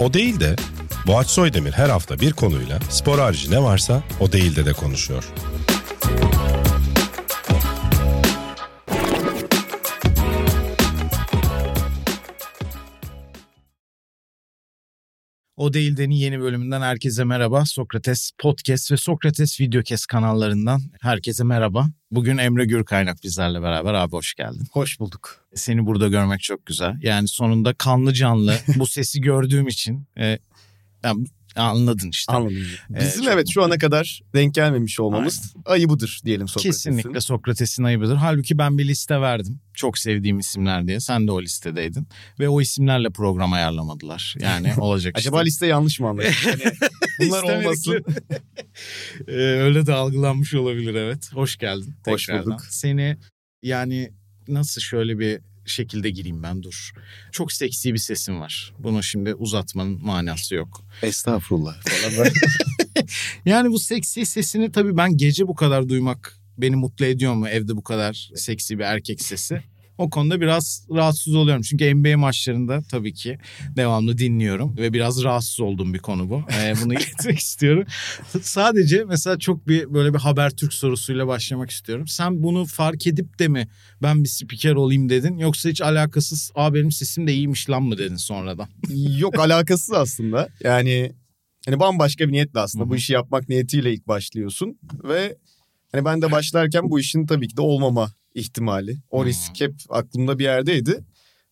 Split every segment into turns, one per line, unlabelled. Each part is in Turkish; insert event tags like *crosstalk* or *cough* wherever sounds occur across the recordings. O değil de Boğaç Soydemir her hafta bir konuyla spor harici ne varsa o değil de de konuşuyor.
O Değilden'in yeni bölümünden herkese merhaba. Sokrates Podcast ve Sokrates Videokes kanallarından herkese merhaba. Bugün Emre Gürkaynak bizlerle beraber. Abi hoş geldin.
Hoş bulduk.
Seni burada görmek çok güzel. Yani sonunda kanlı
*laughs*
canlı bu sesi gördüğüm için e, yani anladın işte.
Anladım.
Ee,
Bizim
çok
evet şu ana kadar denk gelmemiş olmamız ayıbıdır diyelim Sokrates'in.
Kesinlikle Sokrates'in ayıbıdır. Halbuki ben bir liste verdim. Çok sevdiğim isimler diye. Sen de o listedeydin. Ve o isimlerle program ayarlamadılar.
*laughs*
Yani olacak
Acaba
işte.
liste yanlış mı anladık?
*laughs*
Hani *laughs* bunlar
İstemedikleri-
olmasın.
*laughs* Ee, öyle de algılanmış olabilir evet. Hoş geldin.
Hoş
tekrardan.
bulduk.
Seni yani nasıl şöyle bir şekilde gireyim ben dur. Çok seksi bir sesin var. Bunu şimdi uzatmanın manası yok.
Estağfurullah falan böyle.
Yani bu seksi sesini tabii ben gece bu kadar duymak beni mutlu ediyor mu evde bu kadar seksi bir erkek sesi? O konuda biraz rahatsız oluyorum. Çünkü NBA maçlarında tabii ki devamlı dinliyorum ve biraz rahatsız olduğum bir konu bu. Ee,
*laughs*
bunu iletmek istiyorum. Sadece mesela çok bir böyle bir Habertürk sorusuyla başlamak istiyorum. Sen bunu fark edip de mi ben bir spiker olayım dedin yoksa hiç alakasız "Aa benim sesim de iyiymiş lan" mı dedin sonradan?
Yok alakasız aslında. Yani hani bambaşka bir niyetle aslında
Hı hı.
bu işi yapmak niyetiyle ilk başlıyorsun ve hani ben de başlarken bu işin tabii ki de olmama ihtimali. O
Hı.
risk hep aklımda bir yerdeydi.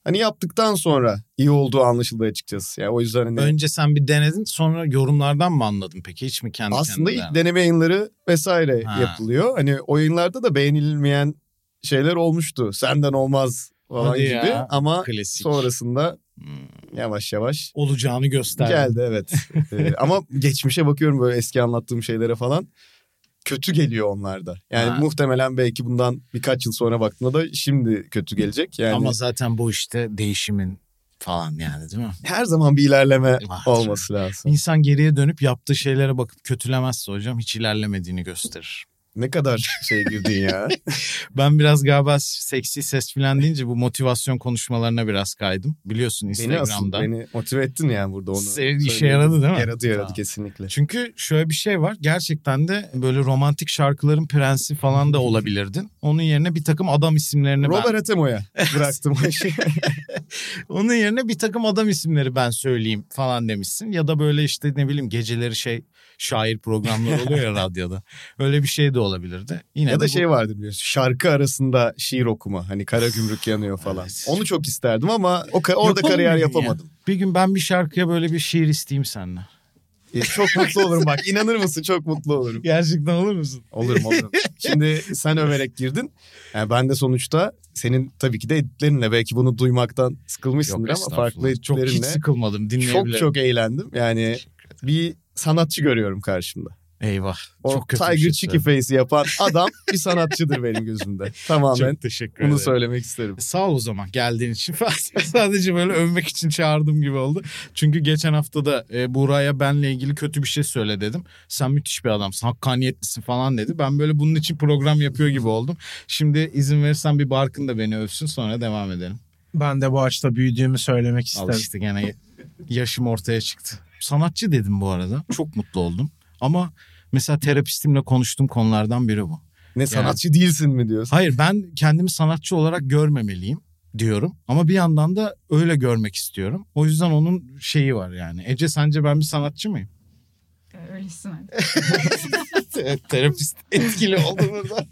Hani yaptıktan sonra iyi olduğu anlaşıldı açıkçası. Yani o yüzden hani
Önce sen bir denedin sonra yorumlardan mı anladın peki hiç mi kendi
Aslında
kendine?
ilk deneme yayınları vesaire
Ha.
yapılıyor. Hani o yayınlarda da beğenilmeyen şeyler olmuştu. Senden olmaz falan
Hadi
gibi.
ya.
Ama
Klasik.
sonrasında
Hmm.
yavaş yavaş
olacağını gösterdi.
geldi
*laughs*
evet. Ee, ama geçmişe bakıyorum böyle eski anlattığım şeylere falan. Kötü geliyor onlarda. Yani
Ha.
muhtemelen belki bundan birkaç yıl sonra baktığımda da şimdi kötü gelecek. Yani
Ama zaten bu işte değişimin falan yani değil mi?
her zaman bir ilerleme
Vardır.
olması lazım.
İnsan geriye dönüp yaptığı şeylere bakıp kötülemezse hocam hiç ilerlemediğini gösterir.
Ne kadar şey girdin
*laughs*
ya.
Ben biraz galiba seksi ses falan deyince bu motivasyon konuşmalarına biraz kaydım. Biliyorsun
beni asıl
Instagram'da.
beni motive ettin yani burada onu.
Se- işe
söyleyeyim.
yaradı değil mi?
Yaradı yaradı
Tamam.
kesinlikle.
Çünkü şöyle bir şey var. Gerçekten de böyle romantik şarkıların prensi falan da olabilirdin. Onun yerine bir takım adam isimlerini ben...
Robert Atemo'ya bıraktım o *laughs* işi.
Onun yerine bir takım adam isimleri ben söyleyeyim falan demişsin. Ya da böyle işte ne bileyim geceleri şey şair programları oluyor
*laughs*
ya radyoda. Öyle bir şey de olabilirdi. Yine
ya
de
da
bu-
şey vardır biliyorsun. Şarkı arasında şiir okuma. Hani kara gümrük yanıyor falan.
Evet.
Onu çok isterdim ama o ka- orada
Yapalım
kariyer
bir gün
yapamadım.
ya. Bir gün ben bir şarkıya böyle bir şiir isteyeyim seninle.
E, çok mutlu olurum bak. İnanır mısın? Çok mutlu olurum.
Gerçekten olur musun?
Olurum olurum. Şimdi sen överek girdin. Yani ben de sonuçta senin tabii ki de editlerinle belki bunu duymaktan sıkılmışsındır ama farklı
Çok hiç
editlerinle
sıkılmadım
çok
dinleyebilirim.
çok eğlendim. Yani bir sanatçı görüyorum karşımda.
Eyvah.
O
çok kötü bir
Tiger
şey
Chicky
söyledim.
Face'i yapan adam bir sanatçıdır benim gözümde.
*laughs*
Tamamen
Çok teşekkür
bunu
ederim.
söylemek isterim.
E, Sağ ol o zaman geldiğin için. *laughs* Sadece böyle övmek için çağırdım gibi oldu. Çünkü geçen hafta da e, Buraya benle ilgili kötü bir şey söyle dedim. Sen müthiş bir adamsın, hakkaniyetlisin falan dedi. Ben böyle bunun için program yapıyor gibi oldum. Şimdi izin verirsen bir Barkın da beni övsün sonra devam edelim.
Ben de bu ağaçta büyüdüğümü söylemek isterim.
Al işte gene yaşım ortaya çıktı. Sanatçı dedim bu arada. Çok mutlu oldum. Ama mesela terapistimle konuştuğum konulardan biri bu.
Ne sanatçı değilsin mi diyorsun?
Hayır ben kendimi sanatçı olarak görmemeliyim diyorum. Ama bir yandan da öyle görmek istiyorum. O yüzden onun şeyi var yani. Ece sence ben bir sanatçı mıyım?
Ee, Öylesin hadi.
Terapist *laughs* etkili oldu burada.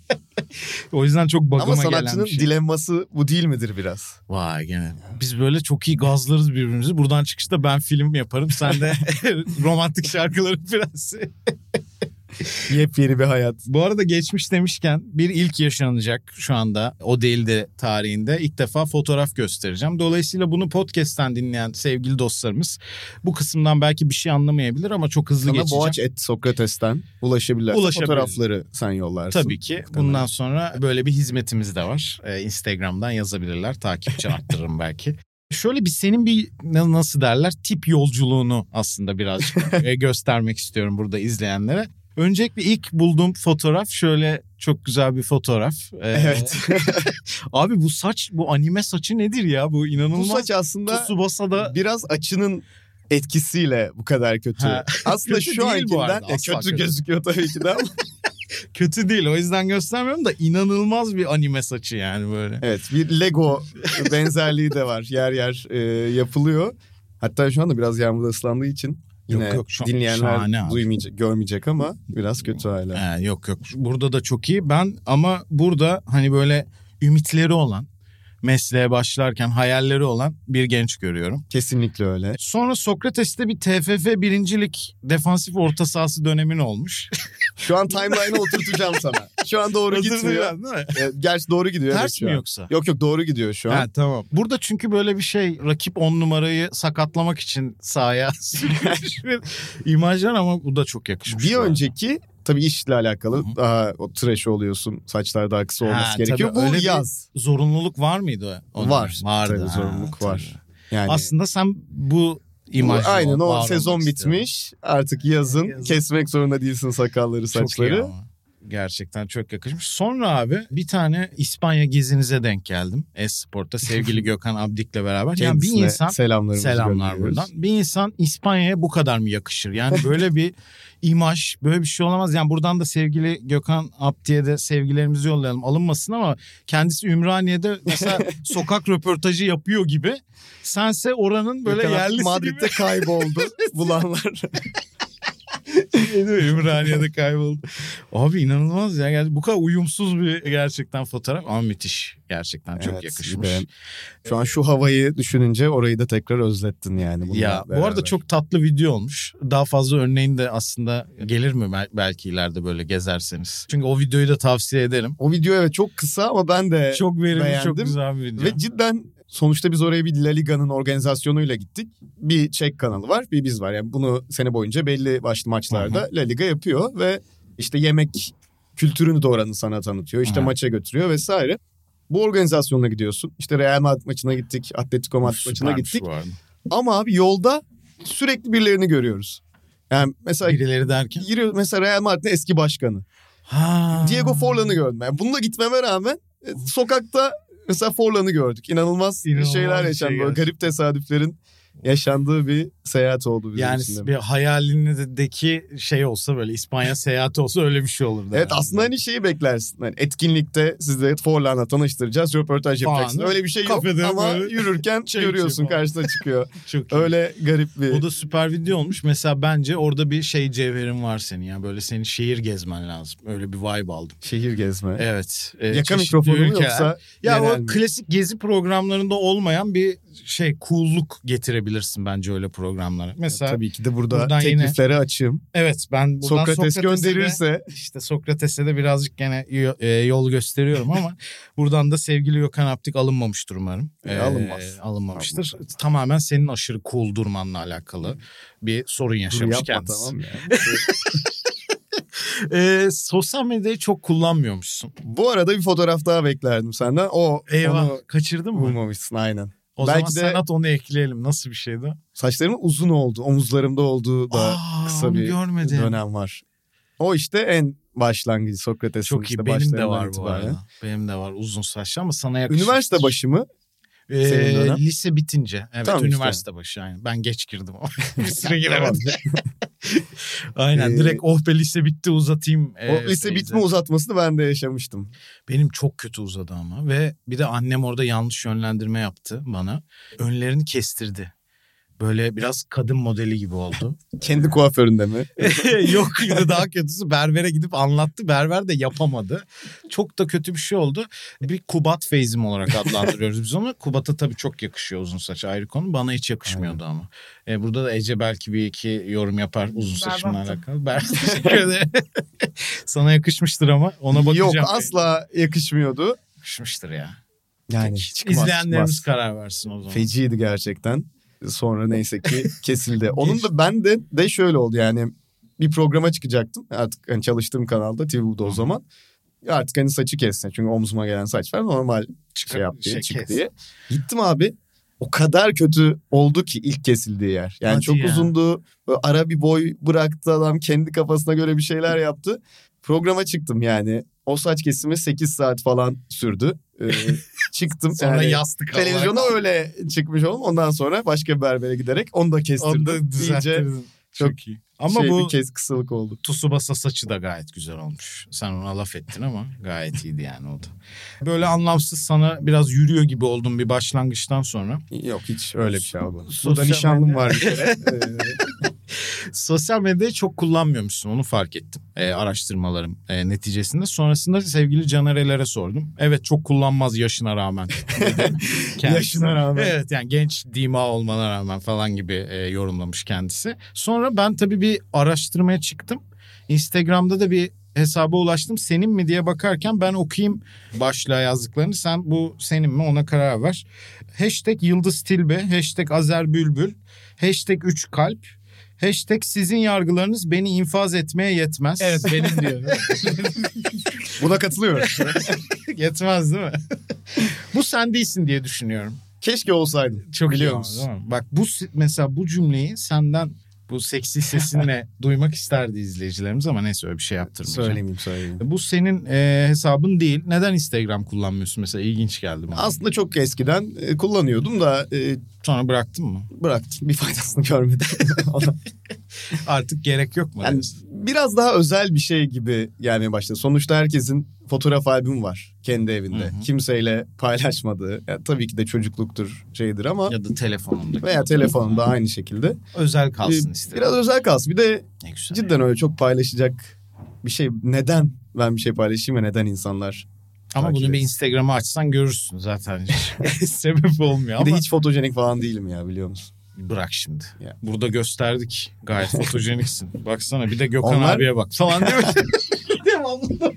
o yüzden çok
Ama
bagıma gelen
sanatçının
bir şey.
dilemması bu değil midir biraz?
Vay gene. Biz böyle çok iyi gazlarız birbirimizi. Buradan çıkışta ben film yaparım. Sen *laughs* de romantik şarkıların prensi.
Yepyeni bir hayat.
Bu arada geçmiş demişken bir ilk yaşanacak şu anda o değil de tarihinde ilk defa fotoğraf göstereceğim. Dolayısıyla bunu podcast'ten dinleyen sevgili dostlarımız bu kısımdan belki bir şey anlamayabilir ama çok hızlı
Sana
geçeceğim.
Boğaç et Sokrates'ten ulaşabilirler.
Ulaşabilirim.
Fotoğrafları sen yollarsın.
Tabii ki. Bundan sonra böyle bir hizmetimiz de var. Ee, Instagram'dan yazabilirler.
*laughs*
Takipçi arttırırım belki. Şöyle bir senin bir na- nasıl derler tip yolculuğunu aslında
*laughs*
birazcık e, göstermek istiyorum burada izleyenlere. Öncelikle ilk bulduğum fotoğraf şöyle çok güzel bir fotoğraf. Ee,
Evet.
*laughs* Abi bu saç bu anime saçı nedir ya bu
bu
inanılmaz.
saç aslında
Tsubasa'da
biraz açının etkisiyle bu kadar kötü.
Ha.
Aslında
Kötü
şu
değil bu arada,
ankinden e,
asla
kötü
kötü.
gözüküyor tabii ki de ama.
Kötü değil o yüzden göstermiyorum da inanılmaz bir anime saçı yani böyle.
evet bir Lego benzerliği de var. Yer yer e, yapılıyor. Hatta şu anda biraz yağmurda ıslandığı için yine
Yok, yok, şu- şahane
dinleyenler
abi.
duymayacak, görmeyecek ama biraz kötü hala.
Ee, yok yok burada da çok iyi ben ama burada hani böyle ümitleri olan mesleğe başlarken hayalleri olan bir genç görüyorum.
Kesinlikle öyle.
Sonra Sokrates'te bir TFF birincilik defansif orta sahası dönemin
*laughs*
olmuş.
Şu an timeline'a oturtacağım sana. Şu an doğru gitmiyor.
Hatırlıyorsun değil mi?
E, Gerçi doğru gidiyor. evet
Ters
şu
mi
an.
yoksa?
Yok yok doğru gidiyor şu an.
Ha tamam.
Burada çünkü böyle bir şey rakip on numarayı sakatlamak için sahaya *laughs* sürülmüş bir imaj var ama bu da çok yakışmış.
Bir
bu arada.
önceki tabii işle alakalı
Hı
daha o tıraş oluyorsun. Saçlarda akısı
Ha,
olması
tabii,
gerekiyor. Bu
öyle bir-
yaz.
zorunluluk var mıydı? o-
Var.
Vardı.
Tabii
ha,
zorunluluk
tabii.
var. Yani
Aslında sen bu imaj
Hani aynen
var
o
olmak
sezon
istiyorsun.
bitmiş. Artık yazın,
Yazın.
kesmek zorunda değilsin sakalları,
Çok iyi
saçları.
ama. Gerçekten çok yakışmış. Sonra abi bir tane İspanya gezinize denk geldim.
*laughs*
Esport'ta sevgili Gökhan Abdik'le beraber. Yani bir
Kendisine
insan
selamlarımızı
Selamlar
gönderiyoruz.
buradan. Bir insan İspanya'ya bu kadar mı yakışır?
*laughs*
Yani böyle bir imaj, böyle bir şey olamaz. Yani buradan da sevgili Gökhan Apti'ye de sevgilerimizi yollayalım. Alınmasın ama kendisi Ümraniye'de
*laughs*
mesela sokak röportajı yapıyor gibi. Sense oranın böyle
Gökhan
yerlisi
Madrid'de
*laughs*
kayboldu bulanlar.
gibi. *laughs* Ümraniye'de kayboldu. Abi inanılmaz ya. Gerçi Bu kadar uyumsuz bir gerçekten fotoğraf ama müthiş. Gerçekten çok
Evet,
yakışmış.
ben- Şu an şu havayı düşününce orayı da tekrar özlettin yani. bununla
Ya bu
beraber.
arada çok tatlı video olmuş. Daha fazla örneğin de aslında gelir mi bel- belki ileride böyle gezerseniz. Çünkü o videoyu da tavsiye ederim.
O video evet çok kısa ama ben de
Çok verimli,
beğendim.
çok güzel bir video.
Ve cidden sonuçta biz oraya bir La Liga'nın organizasyonuyla gittik. Bir Çek kanalı var, bir biz var. Yani bunu sene boyunca belli başlı maçlarda La Liga yapıyor ve işte yemek kültürünü de oranın sana tanıtıyor. İşte
Hı.
maça götürüyor vesaire. Bu organizasyona gidiyorsun. İşte Real Madrid maçına gittik, Atletico Madrid maçına
Süpermiş
gittik.
bu arada.
Ama abi yolda sürekli birilerini görüyoruz. Yani mesela
Birileri derken.
giriyor mesela Real Madrid'in eski başkanı.
Ha.
Diego Forlan'ı gördüm. Yani bununla gitmeme rağmen e, sokakta mesela Forlan'ı gördük. İnanılmaz,
İnanılmaz
şeyler
bir
yaşandı.
şey
Böyle garip tesadüflerin yaşandığı bir seyahat oldu bizim
Yani
için. de.
bir hayalindeki şey olsa böyle İspanya seyahati olsa öyle bir şey olurdu.
Evet
herhalde.
aslında hani şeyi beklersin. Hani etkinlikte sizle Forlan'la tanıştıracağız, röportaj
Falan,
yapacaksın.
değil mi?
Öyle bir şey yok
Kafede
ama
böyle
*laughs* yürürken
çay
görüyorsun
içiyor falan.
karşına çıkıyor.
Çok iyi.
Öyle garip bir...
O da süper video olmuş. Mesela bence orada bir şey cevherin var senin ya. Böyle senin şehir gezmen lazım. Öyle bir vibe aldım.
Şehir gezme.
Evet. e,
Yaka
çeşitli
mikrofonu mu
ülkeler-
yoksa
Ya
genel
o
mi?
klasik gezi programlarında olmayan bir şey cool'luk getirebilirsin bence öyle programlara. Mesela
Tabii ki de burada
Buradan yine-
teklifleri açığım.
evet ben buradan
Sokrates,
Sokrates'e de-
gönderirse
işte Sokrates'e de birazcık gene yo- e, yol gösteriyorum
*laughs*
ama buradan da sevgili Gökhan Aptik alınmamıştır umarım.
E, alınmaz.
Alınmamıştır. Tamamen senin aşırı cool durmanla alakalı bir sorun
dur
yaşamış
yapma
kendisi.
tamam ya.
*laughs* E, sosyal medyayı çok kullanmıyormuşsun.
Bu arada bir fotoğraf daha beklerdim senden. O
Eyvah
onu
kaçırdın mı?
bulmamışsın aynen.
O
Belki
zaman
de-
sanat onu ekleyelim. Nasıl bir şeydi?
Saçlarımın uzun oldu. Omuzlarımda olduğu da
Aa,
kısa
onu
bir
görmedim.
dönem var. O işte en başlangıcı Sokrates'in
Çok iyi.
işte
Benim de
başlarından
var bu
itibaren.
arada. Benim de var uzun saçlı ama sana yakışır.
Üniversite başı mı?
Ee,
senin dönem.
lise bitince. Evet
Tamam işte.
üniversite başı yani. Ben geç girdim
*laughs*
ama bir süre
Tamam.
giremedim. *laughs* Aynen
Ee,
direkt oh be lise bitti uzatayım.
o
ee,
lise
teyze.
bitme uzatmasını ben de yaşamıştım.
Benim çok kötü uzadı ama ve bir de annem orada yanlış yönlendirme yaptı bana. Önlerini kestirdi. Böyle biraz kadın modeli gibi oldu.
*laughs*
*laughs*
Kendi kuaföründe mi?
Yok bir de daha kötüsü berbere gidip anlattı. Berber de yapamadı. Çok da kötü bir şey oldu. Bir Kubat feyzim olarak adlandırıyoruz biz onu. Kubat'a tabii çok yakışıyor uzun saç ayrı konu. Bana hiç yakışmıyordu ama. E, burada da Ece belki bir iki yorum yapar uzun saçımla
Berbattım.
alakalı. Ber teşekkür ederim. *laughs* Sana yakışmıştır ama ona bakacağım.
Yok asla yakışmıyordu.
Yakışmıştır ya.
Yani
İzleyenlerimiz karar versin o zaman.
Feciydi gerçekten. Sonra
*laughs*
neyse ki kesildi. Onun da ben de de şöyle oldu yani bir programa çıkacaktım. Artık hani çalıştığım kanalda TV'de o zaman. Artık hani saçı kessin. Çünkü omzuma gelen saç var normal
Çıkar-
şey yap diye
şey
çık
kes.
diye. Gittim abi. O kadar kötü oldu ki ilk kesildiği yer. Yani
Hadi
çok
ya.
uzundu. Böyle ara bir boy bıraktı adam. Kendi kafasına göre bir
*laughs*
şeyler yaptı. Programa çıktım yani. O saç kesimi 8 saat falan sürdü. Ee, çıktım.
Sonra
yani
yastık alarak-
televizyona öyle çıkmış oldum. Ondan sonra başka bir berbere giderek onu da kestirdim.
Onu da
İyice
düzelttirdim.
çok
Çok iyi. Ama
şey,
bu
bir kez kısılık oldu.
Tsubasa saçı da gayet güzel olmuş. Sen ona laf ettin ama gayet iyiydi yani o da. Böyle anlamsız sana biraz yürüyor gibi oldum bir başlangıçtan sonra.
Yok hiç öyle bir şey olmadı. Burada
Sosyal
nişanlım
medya-
var
*laughs*
bir kere. Ee,
Sosyal medyayı çok kullanmıyormuşsun onu fark ettim. Ee, araştırmalarım e, neticesinde. Sonrasında sevgili Canerelere sordum. Evet çok kullanmaz yaşına
*laughs*
rağmen.
Ee,
Kendisi.
yaşına rağmen.
Evet yani genç dima olmana rağmen falan gibi e, yorumlamış kendisi. Sonra ben tabii bir araştırmaya çıktım. Instagram'da da bir hesaba ulaştım. Senin mi diye bakarken ben okuyayım başlığa yazdıklarını. Sen bu senin mi ona karar ver. Hashtag Yıldız Tilbe, hashtag Azer Bülbül, hashtag 3 Kalp, hashtag sizin yargılarınız beni infaz etmeye yetmez.
Evet benim diyor.
Buna katılıyorum.
*laughs* yetmez değil mi? *laughs* bu sen değilsin diye düşünüyorum.
Keşke olsaydım.
*laughs* Çok
Biliyor
iyi ama,
musun?
değil mi? Bak bu s- mesela bu cümleyi senden bu seksi sesinle duymak isterdi izleyicilerimiz ama neyse öyle bir şey yaptırmayacağım.
Söylemeyeyim söylemeyeyim.
Bu senin e, hesabın değil. Neden Instagram kullanmıyorsun mesela? İlginç geldi bana.
Aslında çok eskiden e, kullanıyordum da e,
Sonra bıraktın mı?
bıraktım. Bir faydasını *laughs* görmedim. Ondan-
Artık gerek yok mu?
Yani
diyorsun?
biraz daha özel bir şey gibi gelmeye başladı. Sonuçta herkesin fotoğraf albümü var kendi evinde.
Hı hı.
Kimseyle paylaşmadığı. Ya tabii ki de çocukluktur şeydir ama
Ya da telefonunda.
veya telefonunda aynı şekilde.
Özel
Ee,
kalsın istedim.
Biraz özel kalsın. Bir de
Ne güzel.
cidden öyle çok paylaşacak bir şey. Neden ben bir şey paylaşayım ve neden insanlar?
Ama
takip
bunu bir
etsin.
Instagram'a açsan görürsün zaten.
*laughs*
*laughs* Hiç Sebep olmuyor
Bir
ama
de hiç fotojenik falan değilim ya biliyor musun?
bırak şimdi.
Ya.
Burada gösterdik.
*laughs*
Gayet fotojeniksin. Baksana bir de Gökhan
Onlar-
abiye bak falan
*laughs*
değil mi? Devamlı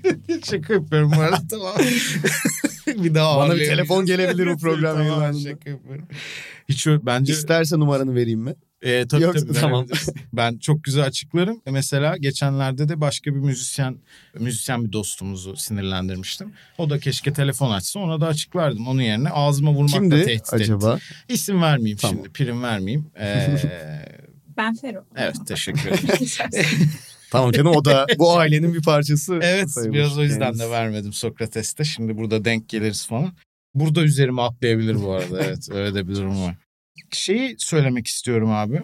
şaka yapıyorum bu arada tamam. bir daha
Bana bir
ağırlayayım. *laughs*
telefon gelebilir bu program
Tamam,
yayınlandığında.
şaka yapıyorum. Hiç öyle, bence
İsterse numaranı vereyim mi?
e, tabii
Yoksa
tabii
tamam.
verebiliriz. Ben çok güzel açıklarım. E, Mesela geçenlerde de başka bir müzisyen müzisyen bir dostumuzu sinirlendirmiştim. O da keşke telefon açsa ona da açıklardım. Onun yerine ağzıma vurmakla
Kimdi
tehdit etti.
acaba?
İsim vermeyeyim
Tamam.
şimdi. Prim vermeyeyim.
*laughs*
Ee,
Ben Fero. *laughs*
evet teşekkür ederim.
Tamam canım
*laughs*
o da bu ailenin bir parçası.
Evet
sayılır
biraz o yüzden
kendisi.
de vermedim Sokrates'te. Şimdi burada denk geliriz falan. Burada üzerime atlayabilir bu arada. Evet öyle de bir durum var. Şeyi söylemek istiyorum abi.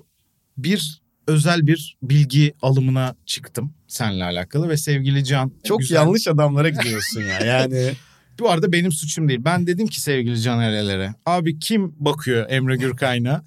Bir özel bir bilgi alımına çıktım seninle alakalı ve sevgili Can.
Çok
güzel-
yanlış adamlara gidiyorsun ya.
*laughs*
Yani
Bu arada benim suçum değil. Ben dedim ki sevgili Can Erelere. Abi kim bakıyor Emre *laughs* Gürkayna?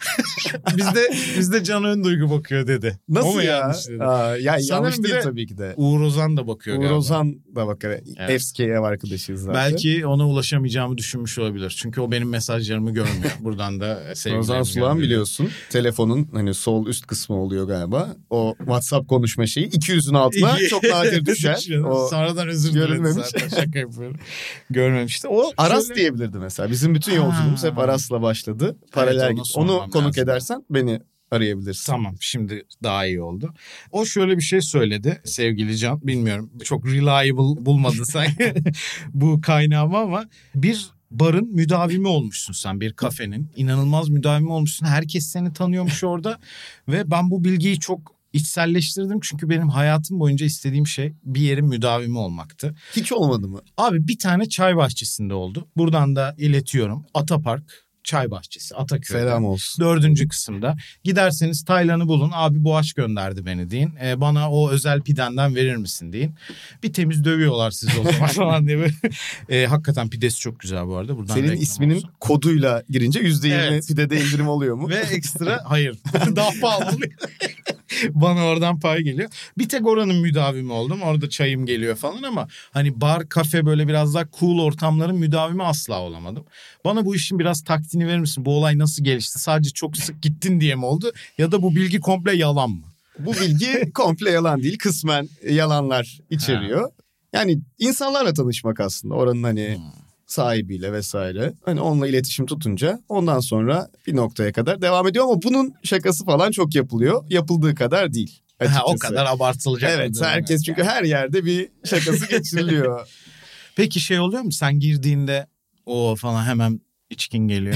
bizde bizde Can Önduygu bakıyor dedi.
nasıl
O mu
ya?
yanlış dedi?
Aa, ya
Sanırım
yanlış
bir
değil
de
tabii ki de.
Uğur Ozan da bakıyor
Uğur
galiba.
Ozan da bak evet.
Evet.
FSK ev arkadaşıyız zaten.
Belki ona ulaşamayacağımı düşünmüş olabilir. Çünkü o benim mesajlarımı
*laughs*
görmüyor. Buradan da
Uğur
sevgilerimi
Ozan Sulan
gönderiyorum.
biliyorsun. Telefonun hani sol üst kısmı oluyor galiba. O WhatsApp konuşma şeyi 200'ün altına
*laughs*
çok nadir düşer. O
Sonradan özür dilerim
görülmemiş.
zaten şaka yapıyorum. Görmemişti. O
Aras
şöyle-
diyebilirdi mesela. Bizim bütün yolculuğumuz
Ha.
hep Aras'la başladı. Paralel
ona
git.
sormam
Onu konuk
lazım.
edersen beni arayabilirsin.
Tamam şimdi daha iyi oldu. O şöyle bir şey söyledi sevgili Can. Bilmiyorum çok reliable bulmadın sen bu kaynağımı ama bir barın müdavimi olmuşsun sen bir kafenin. İnanılmaz müdavimi olmuşsun. Herkes seni tanıyormuş orada ve ben bu bilgiyi çok içselleştirdim çünkü benim hayatım boyunca istediğim şey bir yerin müdavimi olmaktı.
Hiç olmadı mı?
Abi bir tane çay bahçesinde oldu. Buradan da iletiyorum. Atapark Çay Bahçesi Ataköy'de.
Selam olsun.
Dördüncü kısımda. Giderseniz Taylan'ı bulun. Abi Boğaç gönderdi beni deyin. E, bana o özel pidenden verir misin deyin. Bir temiz dövüyorlar sizi o
*laughs*
zaman falan diye böyle. E, hakikaten pidesi çok güzel bu arada. Buradan
Senin
reklam
isminin
olsun.
koduyla girince %20
Evet.
pidede indirim
*laughs*
oluyor mu?
Ve ekstra hayır. *laughs* Daha pahalı. Bana oradan pay geliyor. Bir tek oranın müdavimi oldum. Orada çayım geliyor falan ama hani bar, kafe böyle biraz daha cool ortamların müdavimi asla olamadım. Bana bu işin biraz taktiğini verir misin? Bu olay nasıl gelişti? Sadece çok sık gittin diye mi oldu? Ya da bu bilgi komple yalan mı? *laughs*
Bu bilgi komple yalan değil. Kısmen yalanlar içeriyor. Yani insanlarla tanışmak aslında oranın hani
Hmm.
sahibiyle vesaire. Hani onunla iletişim tutunca ondan sonra bir noktaya kadar devam ediyor ama bunun şakası falan çok yapılıyor. Yapıldığı kadar değil.
Ha, o
açıkçası.
kadar abartılacak. bir
Evet
durum
herkes
yok
çünkü
yani.
her yerde bir
*laughs*
şakası geçiriliyor.
Peki şey oluyor mu? Sen girdiğinde o falan hemen içkin geliyor.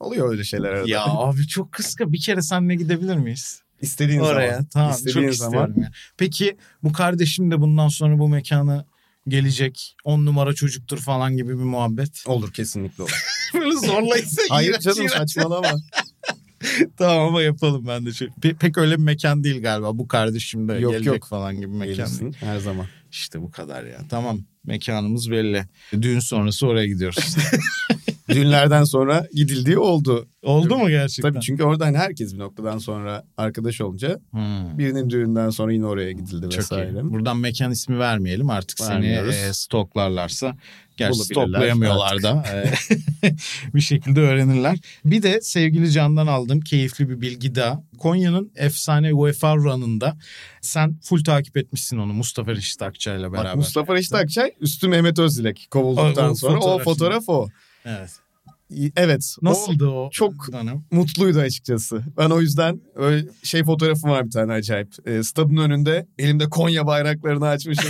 Oluyor öyle şeyler arada.
ya abi çok kıska. Bir kere seninle gidebilir miyiz?
İstediğin
Oraya
zaman.
tamam
İstediğin
çok
zaman.
istiyorum ya. Peki bu kardeşim de bundan sonra bu mekanı gelecek. On numara çocuktur falan gibi bir
*laughs*
muhabbet.
Olur kesinlikle olur.
*laughs* Böyle *laughs* zorlayıp
Hayır canım saçmalama.
Tamam ama yapalım ben de. Şey. Pe- pek öyle bir mekan değil galiba. Bu kardeşim de
Yok,
gelecek
yok.
falan gibi mekan. değil.
Gelirsin her zaman.
İşte bu kadar ya. Tamam mekanımız belli. Düğün sonrası oraya
*laughs*
gidiyoruz.
Düğünlerden sonra gidildiği oldu.
Oldu mu gerçekten?
Tabii çünkü oradan herkes bir noktadan sonra arkadaş olunca
Hmm.
birinin düğünden sonra yine oraya gidildi
Çok
vesaire.
iyi. Buradan mekan ismi vermeyelim artık seni
Vermiyoruz.
e, stoklarlarsa. Gerçi
Bulabilirler
stoklayamıyorlar da e, *laughs* bir şekilde öğrenirler. Bir de sevgili Can'dan aldığım keyifli bir bilgi daha. Konya'nın efsane UEFA run'ında sen full takip etmişsin onu Mustafa Reşit Akça ile
Bak,
beraber.
Mustafa Reşit Akçay üstü Mehmet Özdilek kovulduktan
O- o
sonra o
fotoğraf.
fotoğraf o.
Evet.
Evet. o
Nasıldı o?
çok-
dönem?
mutluydu açıkçası. Ben o yüzden öyle şey fotoğrafım var bir tane acayip. E, stadın önünde elimde Konya bayraklarını *laughs* açmışım.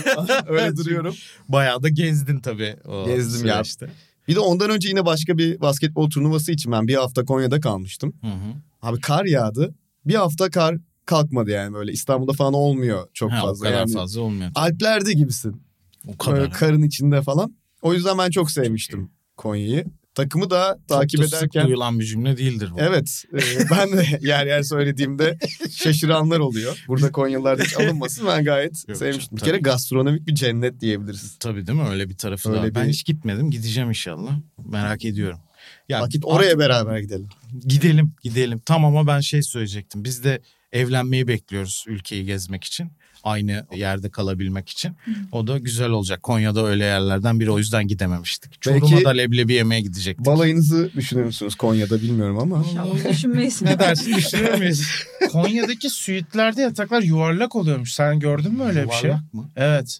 öyle duruyorum.
Bayağı da gezdin tabii. O
Gezdim ya.
süreçte.
Bir de ondan önce yine başka bir basketbol turnuvası için ben bir hafta Konya'da kalmıştım.
Hı hı.
Abi kar yağdı. Bir hafta kar kalkmadı yani böyle. İstanbul'da falan olmuyor çok
Ha,
fazla.
o kadar
yani.
fazla olmuyor.
Alplerde gibisin.
O
Böyle
kadar.
karın içinde falan. O yüzden ben çok sevmiştim Konya'yı. Takımı da takip
Çok da
ederken...
sık duyulan bir cümle değildir bu.
Evet. e,
*laughs*
ben de yer yer söylediğimde şaşıranlar oluyor. Burada Konyalılar da hiç alınmasın. Ben gayet
Yok canım,
sevmiştim. Bir kere gastronomik bir cennet diyebiliriz.
Tabii değil mi? Öyle bir tarafı da
Öyle
var. Ben
bir-
hiç gitmedim. Gideceğim inşallah. Merak ediyorum. Ya
Vakit oraya beraber gidelim.
gidelim, gidelim. Tam ama ben şey söyleyecektim. Biz de evlenmeyi bekliyoruz ülkeyi gezmek için. Aynı yerde kalabilmek için. O da güzel olacak. Konya'da öyle yerlerden biri o yüzden gidememiştik. Çorum'a
Belki-
da leblebi yemeye gidecektik.
Balayınızı düşünür müsünüz Konya'da bilmiyorum ama.
İnşallah düşünmeyiz.
ne dersin düşünür
*laughs*
müyüz?
Konya'daki suitlerde yataklar yuvarlak oluyormuş. Sen gördün mü öyle bir şey?
Yuvarlak mı?
Evet.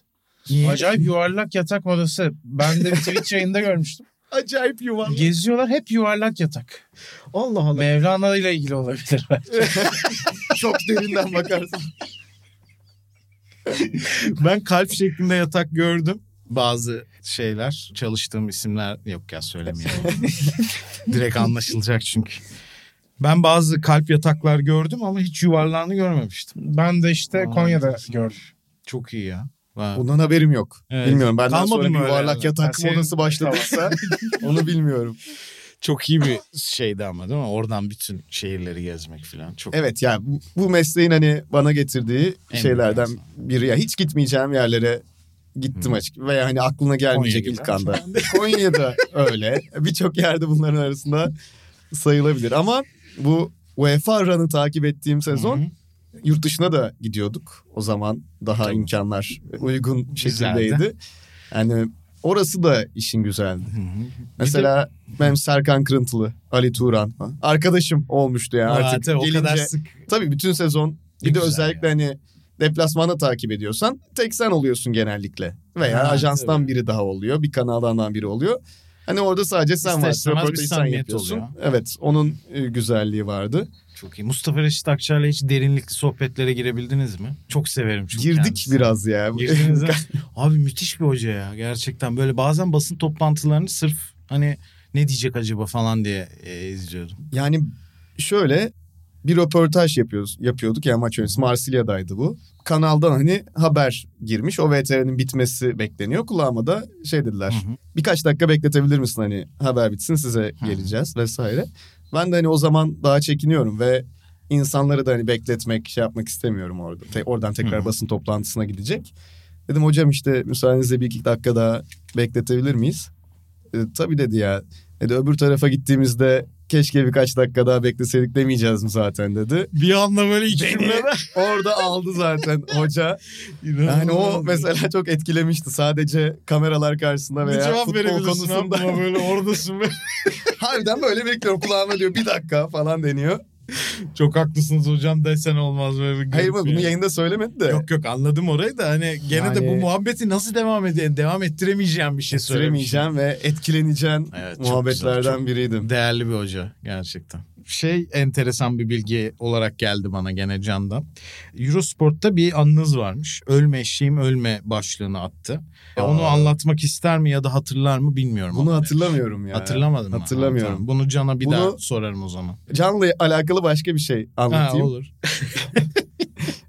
Niye?
Acayip yuvarlak yatak odası. Ben de bir Twitch yayında görmüştüm.
Acayip yuvan.
Geziyorlar hep yuvarlak yatak.
Allah Allah.
Mevlana ile ilgili olabilir belki.
Çok derinden
*laughs*
bakarsın.
Ben kalp şeklinde yatak gördüm. Bazı şeyler çalıştığım isimler yok ya
*laughs*
söylemiyorum. Direkt anlaşılacak çünkü. Ben bazı kalp yataklar gördüm ama hiç yuvarlağını görmemiştim.
Ben de işte
Aa,
Konya'da
enteresan.
gördüm.
Çok iyi ya. Vay.
Bundan haberim yok.
Evet.
Bilmiyorum. Benden
Kalmadı
sonra bir
mı öyle şey
yuvarlak
yani?
yatak
Ben
*laughs*
modası başladıysa onu bilmiyorum.
Çok iyi bir şeydi ama değil mi? Oradan bütün şehirleri gezmek falan. Çok
Evet yani bu, bu mesleğin hani bana getirdiği
En
şeylerden
büyük
biri. Ya hiç gitmeyeceğim yerlere gittim açık veya hani aklına gelmeyecek
Konya gibi.
ilk anda. Konya'da öyle. Birçok yerde bunların arasında sayılabilir ama bu UEFA run'ı takip ettiğim sezon
Hı hı.
yurt dışına da gidiyorduk. O zaman daha
Tabii.
imkanlar uygun
Güzeldi.
şekildeydi. Yani orası da işin güzeldi.
Hı hı.
Mesela benim Serkan Kırıntılı, Ali Turan falan. arkadaşım olmuştu yani artık
Zaten
gelince.
o kadar sık.
Tabii bütün sezon.
Ne
Bir de
güzel
özellikle hani deplasmanda takip ediyorsan tek sen oluyorsun genellikle. Veya
Ha,
ajanstan
tabii.
biri daha oluyor. Bir kanaldan biri oluyor. Hani orada sadece sen
İster
varsın.
istemez bir
Röportajı sen
samimiyet
yapıyorsun.
oluyor.
Evet onun e, güzelliği vardı.
Çok iyi. Mustafa Reşit Akçay'la hiç derinlikli sohbetlere girebildiniz mi? Çok severim çünkü
Girdik
kendisini.
biraz ya.
Girdiniz ha? *laughs* Abi müthiş bir hoca ya gerçekten. Böyle bazen basın toplantılarını sırf hani ne diyecek acaba falan diye e, izliyordum.
Yani şöyle bir röportaj yapıyoruz, yapıyorduk ya maç öncesi Marsilya'daydı bu. Kanaldan hani haber girmiş. O VTR'nin bitmesi bekleniyor. Kulağıma da şey dediler.
Hı hı.
Birkaç dakika bekletebilir misin hani haber bitsin size
Hı.
geleceğiz vesaire. Ben de hani o zaman daha çekiniyorum ve insanları da hani bekletmek şey yapmak istemiyorum orada. Te- oradan tekrar
Hı.
basın toplantısına gidecek. Dedim hocam işte müsaadenizle bir iki dakika daha bekletebilir miyiz? E, tabii dedi ya. Dedi E öbür tarafa gittiğimizde keşke birkaç dakika daha bekleseydik demeyeceğiz mi zaten dedi.
Bir anda böyle *laughs*
Orada aldı zaten hoca. Yani o mesela çok etkilemişti. Sadece kameralar karşısında
bir
veya
cevap
futbol
verebilirsin
konusunda.
ama *laughs* böyle oradasın ve
*laughs* Harbiden böyle bekliyorum. Kulağıma diyor bir dakika falan deniyor.
çok haklısınız hocam desen olmaz böyle. bir
Hayır
garip
mı
bir-
bunu yayında söylemedi de.
Yok yok anladım orayı da hani gene de bu
Yani-
muhabbeti nasıl devam edeyim devam ettiremeyeceğim bir şey söylemiş.
Süremeyeceğim ve etkileneceğim
Evet, çok
muhabbetlerden
güzel, çok-
biriydim.
Değerli bir hoca gerçekten. Şey enteresan bir bilgi olarak geldi bana gene Can'dan. Eurosport'ta bir anınız varmış. Ölme eşeğim ölme başlığını attı. E,
Aa.
Onu anlatmak ister mi ya da hatırlar mı bilmiyorum.
Bunu
ama.
hatırlamıyorum ya.
Hatırlamadın mı?
Hatırlamıyorum.
Ha, tamam. Bunu Can'a bir
Bunu-
daha sorarım o zaman.
Can'la alakalı başka bir şey
Ha,
anlatayım.
olur.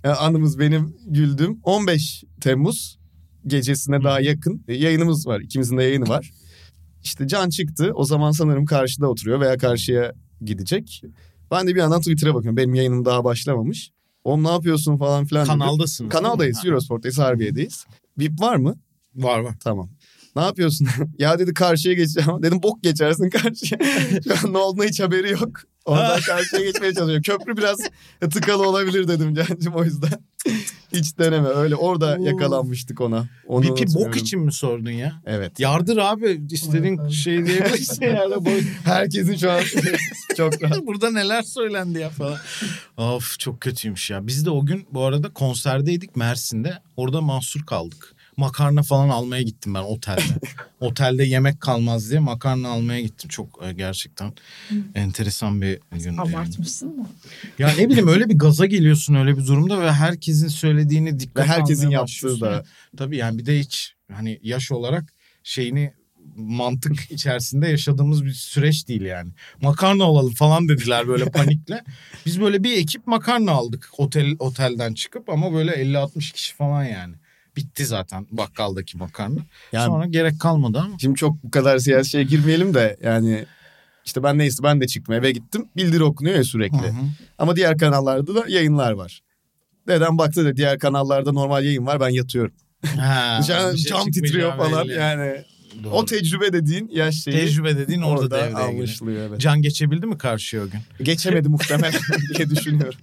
Ya anımız benim güldüm. 15 Temmuz gecesine daha yakın e, yayınımız var. İkimizin de yayını var. İşte Can çıktı. O zaman sanırım karşıda oturuyor veya karşıya gidecek. Ben de bir yandan Twitter'a bakıyorum. Benim yayınım daha başlamamış. Oğlum ne yapıyorsun falan filan. dedi.
Kanaldasınız.
Kanaldayız.
Ha,
Eurosport'tayız. Harbiye'deyiz. VIP var mı?
Var var.
Tamam.
*laughs*
Ne yapıyorsun? ya dedi karşıya geçeceğim. *laughs* Dedim bok geçersin karşıya. Şu an ne olduğunu hiç haberi yok. Ondan karşıya geçmeye çalışıyor. Köprü biraz tıkalı olabilir dedim Can'cığım o yüzden. *laughs* hiç deneme öyle. Orada
Oo.
yakalanmıştık ona. Onu
Pipi
unutmuyorum.
bok için mi sordun ya?
Evet.
Yardır abi istediğin şey
*laughs*
diyebilirsin yani. Boy-
Herkesin şu
*laughs*
an çok rahat.
Burada neler söylendi ya falan. of çok kötüymüş ya. Biz de o gün bu arada konserdeydik Mersin'de. Orada mahsur kaldık. Makarna falan almaya gittim ben *laughs* otelde. Otelde yemek kalmaz diye makarna almaya gittim. Çok e, gerçekten enteresan bir gün. yani.
Abartmışsın mı?
Ya ne bileyim öyle bir gaza geliyorsun öyle bir durumda ve herkesin söylediğini dikkat
Ve herkesin
almaya
yaptığı da.
başlıyorsun. Tabii yani bir de hiç hani yaş olarak şeyini
*laughs*
mantık içerisinde yaşadığımız bir süreç değil yani. Makarna olalım falan dediler böyle panikle. Biz böyle bir ekip makarna aldık otel otelden çıkıp ama böyle 50-60 kişi falan yani. Bitti zaten bakkaldaki makarna.
Yani
Sonra gerek kalmadı ama.
Şimdi çok bu kadar siyasi şeye girmeyelim de yani işte ben neyse ben de çıktım eve gittim. Bildiri okunuyor ya sürekli.
Hı hı.
Ama diğer kanallarda da yayınlar var. Dedem baktı da diğer kanallarda normal yayın var ben yatıyorum.
Ha,
Can,
bir şey
cam
çıkmayacağı
titriyor falan
belli.
yani.
Doğru.
O tecrübe dediğin yaş şeyi
Tecrübe dediğin orada,
orada
devreye giriyor.
anlaşılıyor. Evet.
Can geçebildi mi karşıya o gün? *laughs*
Geçemedi muhtemelen diye düşünüyorum.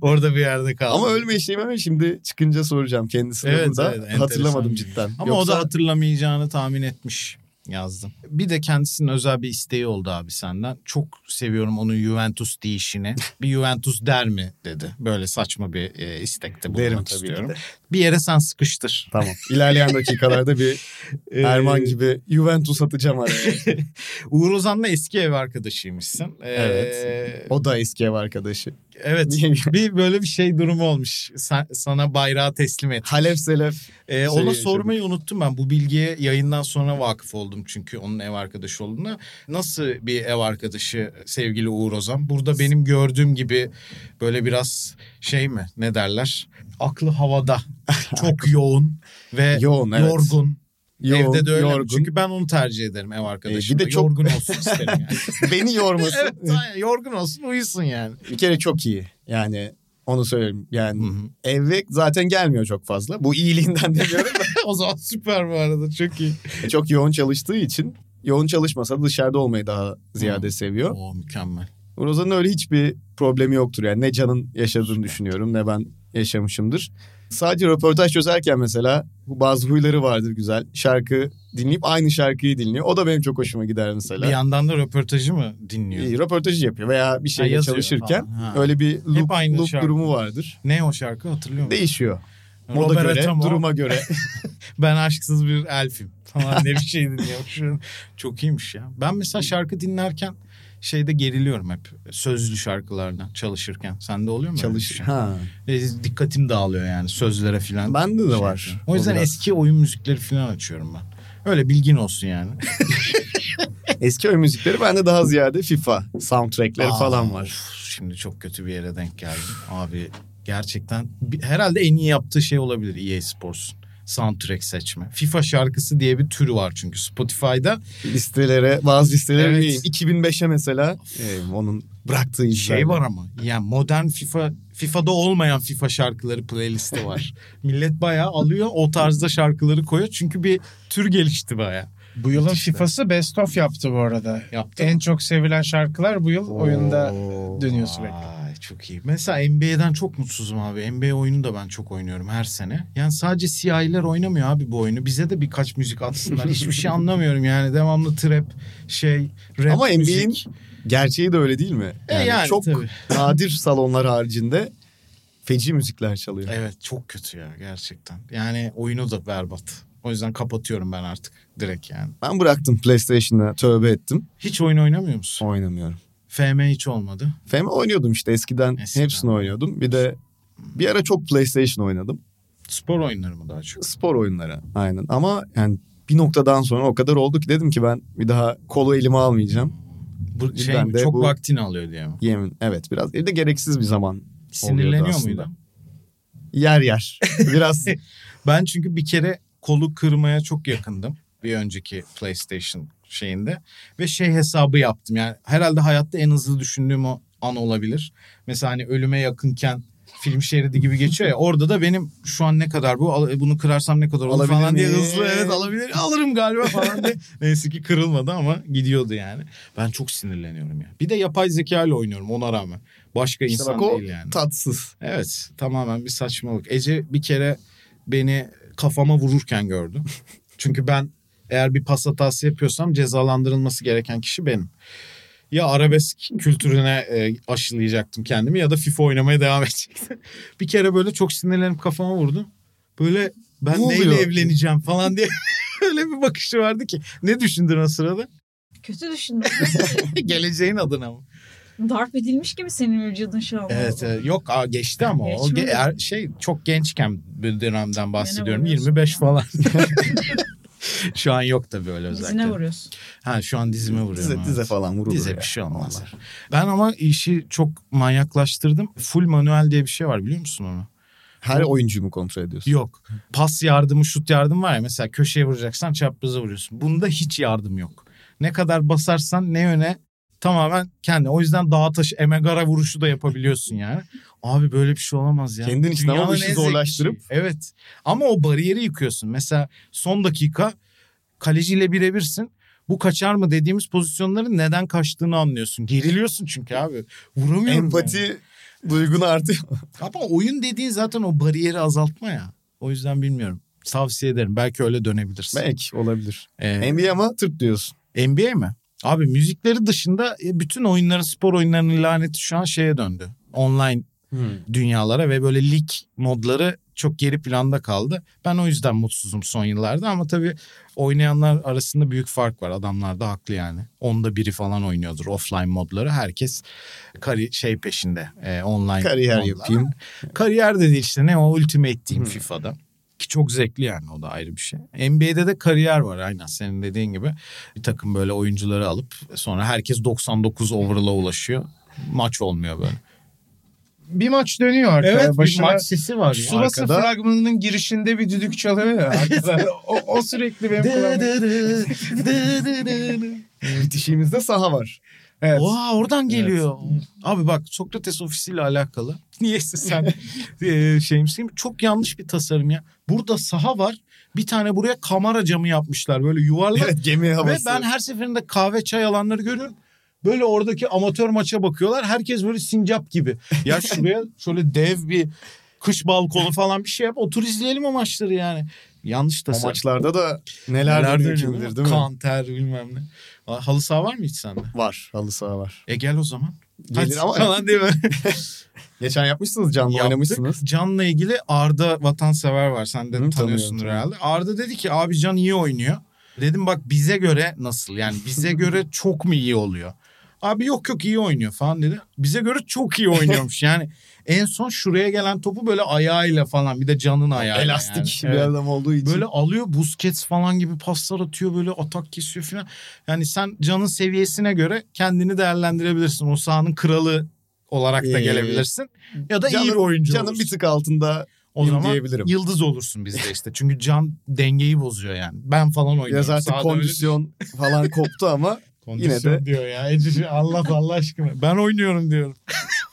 Orada bir yerde kaldı.
Ama ölme işlemi ama şimdi çıkınca soracağım kendisine
Evet,
bunu da
evet, enteresan. şey.
hatırlamadım cidden.
Ama o
Yoksa
da hatırlamayacağını tahmin etmiş yazdım. Bir de kendisinin özel bir isteği oldu abi senden. Çok seviyorum onun Juventus
*laughs*
deyişini. bir Juventus der mi dedi. Böyle saçma bir e, istekte bulunmak
derim tabii ki
istiyorum.
de.
Bir yere sen sıkıştır.
Tamam.
*laughs*
İlerleyen dakikalarda bir
Ee,
Erman gibi Juventus atacağım araya.
Uğur Ozan'la eski ev arkadaşıymışsın. Ee,
Evet. O da eski ev arkadaşı.
Evet. bir böyle bir şey durumu olmuş. Sen- sana bayrağı teslim et.
Halef Selef
Ee, ona
yaşadık.
sormayı unuttum ben. Bu bilgiye yayından sonra vakıf oldum çünkü onun ev arkadaşı olduğuna. Nasıl bir ev arkadaşı sevgili Uğur Ozan? Burada benim gördüğüm gibi böyle biraz şey mi ne derler? Aklı havada,
*laughs*
çok yoğun ve
yoğun evet.
yorgun.
Yoğun,
Evde de öyle mi?
yorgun. E,
Çünkü ben onu tercih ederim ev arkadaşımda.
bir de çok-
Yorgun olsun isterim
*laughs*
yani.
Beni yormasın.
*laughs* evet aynen. yorgun olsun uyusun yani.
bir kere çok iyi. Yani onu söyleyeyim. Yani
Hı hı.
evve zaten gelmiyor çok fazla. Bu iyiliğinden *laughs* demiyorum da.
*laughs* o zaman süper bu arada çok iyi.
çok yoğun çalıştığı için yoğun çalışmasa da dışarıda olmayı daha ziyade seviyor.
Oo mükemmel.
Rozan'ın öyle hiçbir problemi yoktur. Yani ne Can'ın yaşadığını düşünüyorum ne ben yaşamışımdır. Sadece röportaj çözerken mesela bu bazı huyları vardır güzel. Şarkı dinleyip aynı şarkıyı dinliyor. O da benim çok hoşuma gider mesela.
Bir yandan da röportajı mı dinliyor?
İyi, röportajı yapıyor veya bir şeyle
yazıyor
çalışırken
falan. Ha.
öyle bir loop,
aynı
loop
şarkı.
durumu vardır.
Ne o şarkı hatırlıyor musun?
Değişiyor. Moda
Robert
göre,
Atamo,
duruma göre.
*laughs* ben aşksız bir elfim falan ne bir şey
*laughs*
dinliyormuşum. Çok iyiymiş ya. Ben mesela şarkı dinlerken şeyde geriliyorum hep. Sözlü şarkılardan çalışırken. Sende oluyor mu? öyle bir
Çalış.
şey?
Ha.
E, dikkatim dağılıyor yani sözlere falan.
Bende de
Şey
var.
yapıyorum. O yüzden
O biraz.
eski oyun müzikleri falan açıyorum ben. Öyle bilgin olsun yani.
Eski oyun müzikleri bende daha ziyade FIFA soundtrackleri
Aa,
falan var.
of, şimdi çok kötü bir yere denk geldim. Abi gerçekten bi- herhalde en iyi yaptığı şey olabilir EA Sports'un. Soundtrack seçme. FIFA şarkısı diye bir tür var çünkü Spotify'da
Listelere, bazı listelere
Evet.
vereyim. 2005'e mesela e, onun bıraktığı izler.
şey var ama yani modern FIFA FIFA'da olmayan FIFA şarkıları playlisti
*laughs*
var. Millet bayağı alıyor o tarzda şarkıları koyuyor çünkü bir tür gelişti bayağı.
Bu yılın
İşte.
FIFA'sı best of yaptı bu arada.
Yaptı.
En çok sevilen şarkılar bu yıl oyunda dönüyor sürekli.
Ay, çok iyi. Mesela NBA'den çok mutsuzum abi. NBA oyunu da ben çok oynuyorum her sene. Yani sadece siyahiler oynamıyor abi bu oyunu. Bize de birkaç müzik
*laughs*
atsınlar. Hiçbir şey anlamıyorum yani. Devamlı trap, şey, rap
Ama
müzik.
*laughs* NBA'in gerçeği de öyle değil mi?
E yani
çok
tabii.
nadir salonlar haricinde feci müzikler çalıyor.
Evet çok kötü ya gerçekten. Yani oyunu da berbat. O yüzden kapatıyorum ben artık direkt yani.
Ben bıraktım PlayStation'a tövbe ettim.
Hiç oyun oynamıyor musun?
Oynamıyorum.
FM hiç olmadı.
FM oynuyordum işte eskiden,
Eskiden.
hepsini oynuyordum. Bir de bir ara çok PlayStation oynadım.
Spor oyunları mı daha çok?
Spor oyunları aynen ama yani bir noktadan sonra o kadar oldu ki dedim ki ben bir daha kolu elime almayacağım.
Bu şey
Ben
mi,
de
çok
bu-
vaktini alıyor diye mi?
Yemin evet biraz bir de gereksiz bir zaman
Sinirleniyor
aslında. *laughs*
muydun?
yer yer biraz
Ben çünkü bir kere kolu kırmaya çok yakındım. Bir önceki PlayStation şeyinde. Ve şey hesabı yaptım. Yani herhalde hayatta en hızlı düşündüğüm o an olabilir. Mesela hani ölüme yakınken film şeridi gibi geçiyor ya. Orada da benim şu an ne kadar bu al- bunu kırarsam ne kadar olur
Alabilir
falan diye
miyim?
hızlı evet alabilir alırım galiba falan
*laughs*
diye. Neyse ki kırılmadı ama gidiyordu yani. Ben çok sinirleniyorum ya. Bir de yapay zeka ile oynuyorum ona rağmen. Başka
İşte
insan
bak o
değil yani.
tatsız.
Evet tamamen bir saçmalık. Ece bir kere beni kafama vururken
*laughs*
gördü. Çünkü ben eğer bir pas hatası yapıyorsam cezalandırılması gereken kişi benim. Ya arabesk kültürüne e, aşılayacaktım kendimi ya da FIFA oynamaya devam edecektim. *laughs* bir kere böyle çok sinirlenip kafama vurdum. Böyle ben
Ne
neyle
oluyor?
evleneceğim falan diye *laughs* öyle bir bakışı vardı ki. Ne düşündün o sırada? *laughs*
Kötü düşündüm. *laughs*
Geleceğin adına mı?
Darp edilmiş gibi senin vücudun şey şu an.
Evet, evet. yok aa, geçti ama o Ge-
Geçmedi.
er- şey çok gençken bir dönemden bahsediyorum
vuruyorsun
25
ya.
falan. *laughs* şu an yok tabii öyle
Dizine
özellikle.
vuruyorsun.
Ha şu an dizime vuruyorum.
Dize,
evet.
dize falan vurulur.
Dize
ya.
bir şey olmaz.
Vallahi.
Ben ama işi çok manyaklaştırdım. Full manuel diye bir şey var biliyor musun onu?
Her oyuncuyu mu kontrol ediyorsun?
Yok. Pas yardımı, şut yardımı var ya mesela köşeye vuracaksan çapraza vuruyorsun. Bunda hiç yardım yok. Ne kadar basarsan ne yöne tamamen kendi. O yüzden dağ taşı emegara vuruşu da yapabiliyorsun yani. Abi böyle bir şey olamaz ya.
Kendin için ama
Dünyanın
bu işi
en zevkli
zorlaştırıp-
şeyi. Evet. Ama o bariyeri yıkıyorsun. Mesela son dakika kaleciyle birebirsin. Bu kaçar mı dediğimiz pozisyonların neden kaçtığını anlıyorsun. Geriliyorsun çünkü abi. Vuramıyorum.
Empati
yani.
duygunu *laughs* artıyor.
Ama oyun dediğin zaten o bariyeri azaltma ya. O yüzden bilmiyorum. Tavsiye ederim. Belki öyle dönebilirsin.
Belki olabilir.
Ee,
NBA ama tırt *laughs* diyorsun.
NBA mi? Abi müzikleri dışında e, bütün oyunların, spor oyunlarının laneti şu an şeye döndü. Online dünyalara ve böyle lig modları çok geri planda kaldı. Ben o yüzden mutsuzum son yıllarda ama tabii oynayanlar arasında büyük fark var. Adamlar da haklı yani. Onda biri falan oynuyordur offline modları. Herkes kari şey peşinde. e, online
Kariyer
modlar.
yapayım.
Kariyer dedi işte ne o Ultimate diyeyim
Hı.
FIFA'da. Ki çok zevkli yani o da ayrı bir şey. NBA'de de kariyer var aynen senin dediğin gibi. Bir takım böyle oyuncuları alıp sonra herkes 99 overall'a ulaşıyor. Maç olmuyor böyle.
Bir maç dönüyor arkaya. Başına...
sesi var.
Tsubasa
Arkada-
fragmanının girişinde bir düdük çalıyor ya. arkada. o, o sürekli benim kulağımda.
Bitişiğimizde saha var.
Evet.
Oha oradan geliyor. Abi bak Sokrates ofisiyle alakalı. *laughs* Niyeyse sen eee, şeyimsin. Çok yanlış bir tasarım ya. Burada saha var. Bir tane buraya kamera camı yapmışlar. Böyle yuvarlak.
*laughs* Evet gemi
Ve
havası.
ben her seferinde kahve çay alanları görüyorum. Böyle oradaki amatör maça bakıyorlar. Herkes böyle sincap gibi. Ya
*laughs*
şuraya şöyle dev bir kış balkonu falan bir şey yap. Otur izleyelim o maçları yani. Yanlış
O
tasarım.
maçlarda da neler, dönüyor kim bilir değil mi?
Kanter bilmem ne. Aa, Halı saha var mı hiç sende?
Var. Halı saha var.
E gel o zaman.
Gelir
Hadi
*laughs* ama
falan değil mi?
geçen yapmışsınız canlı
Yaptık.
oynamışsınız.
Can'la ilgili Arda vatansever var. Sen de
Hı,
tanıyorsun
tanıyorum,
herhalde. Arda dedi ki abi Can iyi oynuyor. Dedim bak bize göre nasıl? Yani
*laughs*
bize göre çok mu iyi oluyor? Abi yok yok iyi oynuyor falan dedi. Bize göre çok iyi
*laughs*
oynuyormuş. Yani en son şuraya gelen topu böyle ayağıyla falan bir de Can'ın
*laughs*
ayağı.
Elastik
yani.
bir
Evet.
adam olduğu için.
Böyle alıyor Busquets falan gibi paslar atıyor böyle atak kesiyor falan. Yani sen canın seviyesine göre kendini değerlendirebilirsin. O sahanın kralı olarak da
Ee,
gelebilirsin. Ya da iyi
Can'ın-
bir oyuncu
Can'ın
olursun.
bir tık altında
o zaman
diyebilirim.
yıldız olursun bizde işte. Çünkü can dengeyi bozuyor yani. Ben falan oynuyorum.
Biraz artık
Sahada
kondisyon falan
*laughs*
koptu ama
öyle- kondisyon
yine de-
diyor ya. Ece, Allah Allah aşkına. Ben oynuyorum diyorum.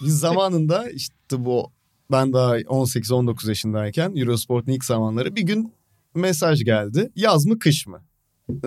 biz zamanında işte bu ben daha 18-19 yaşındayken Eurosport'un ilk zamanları bir gün mesaj geldi. Yaz mı kış mı?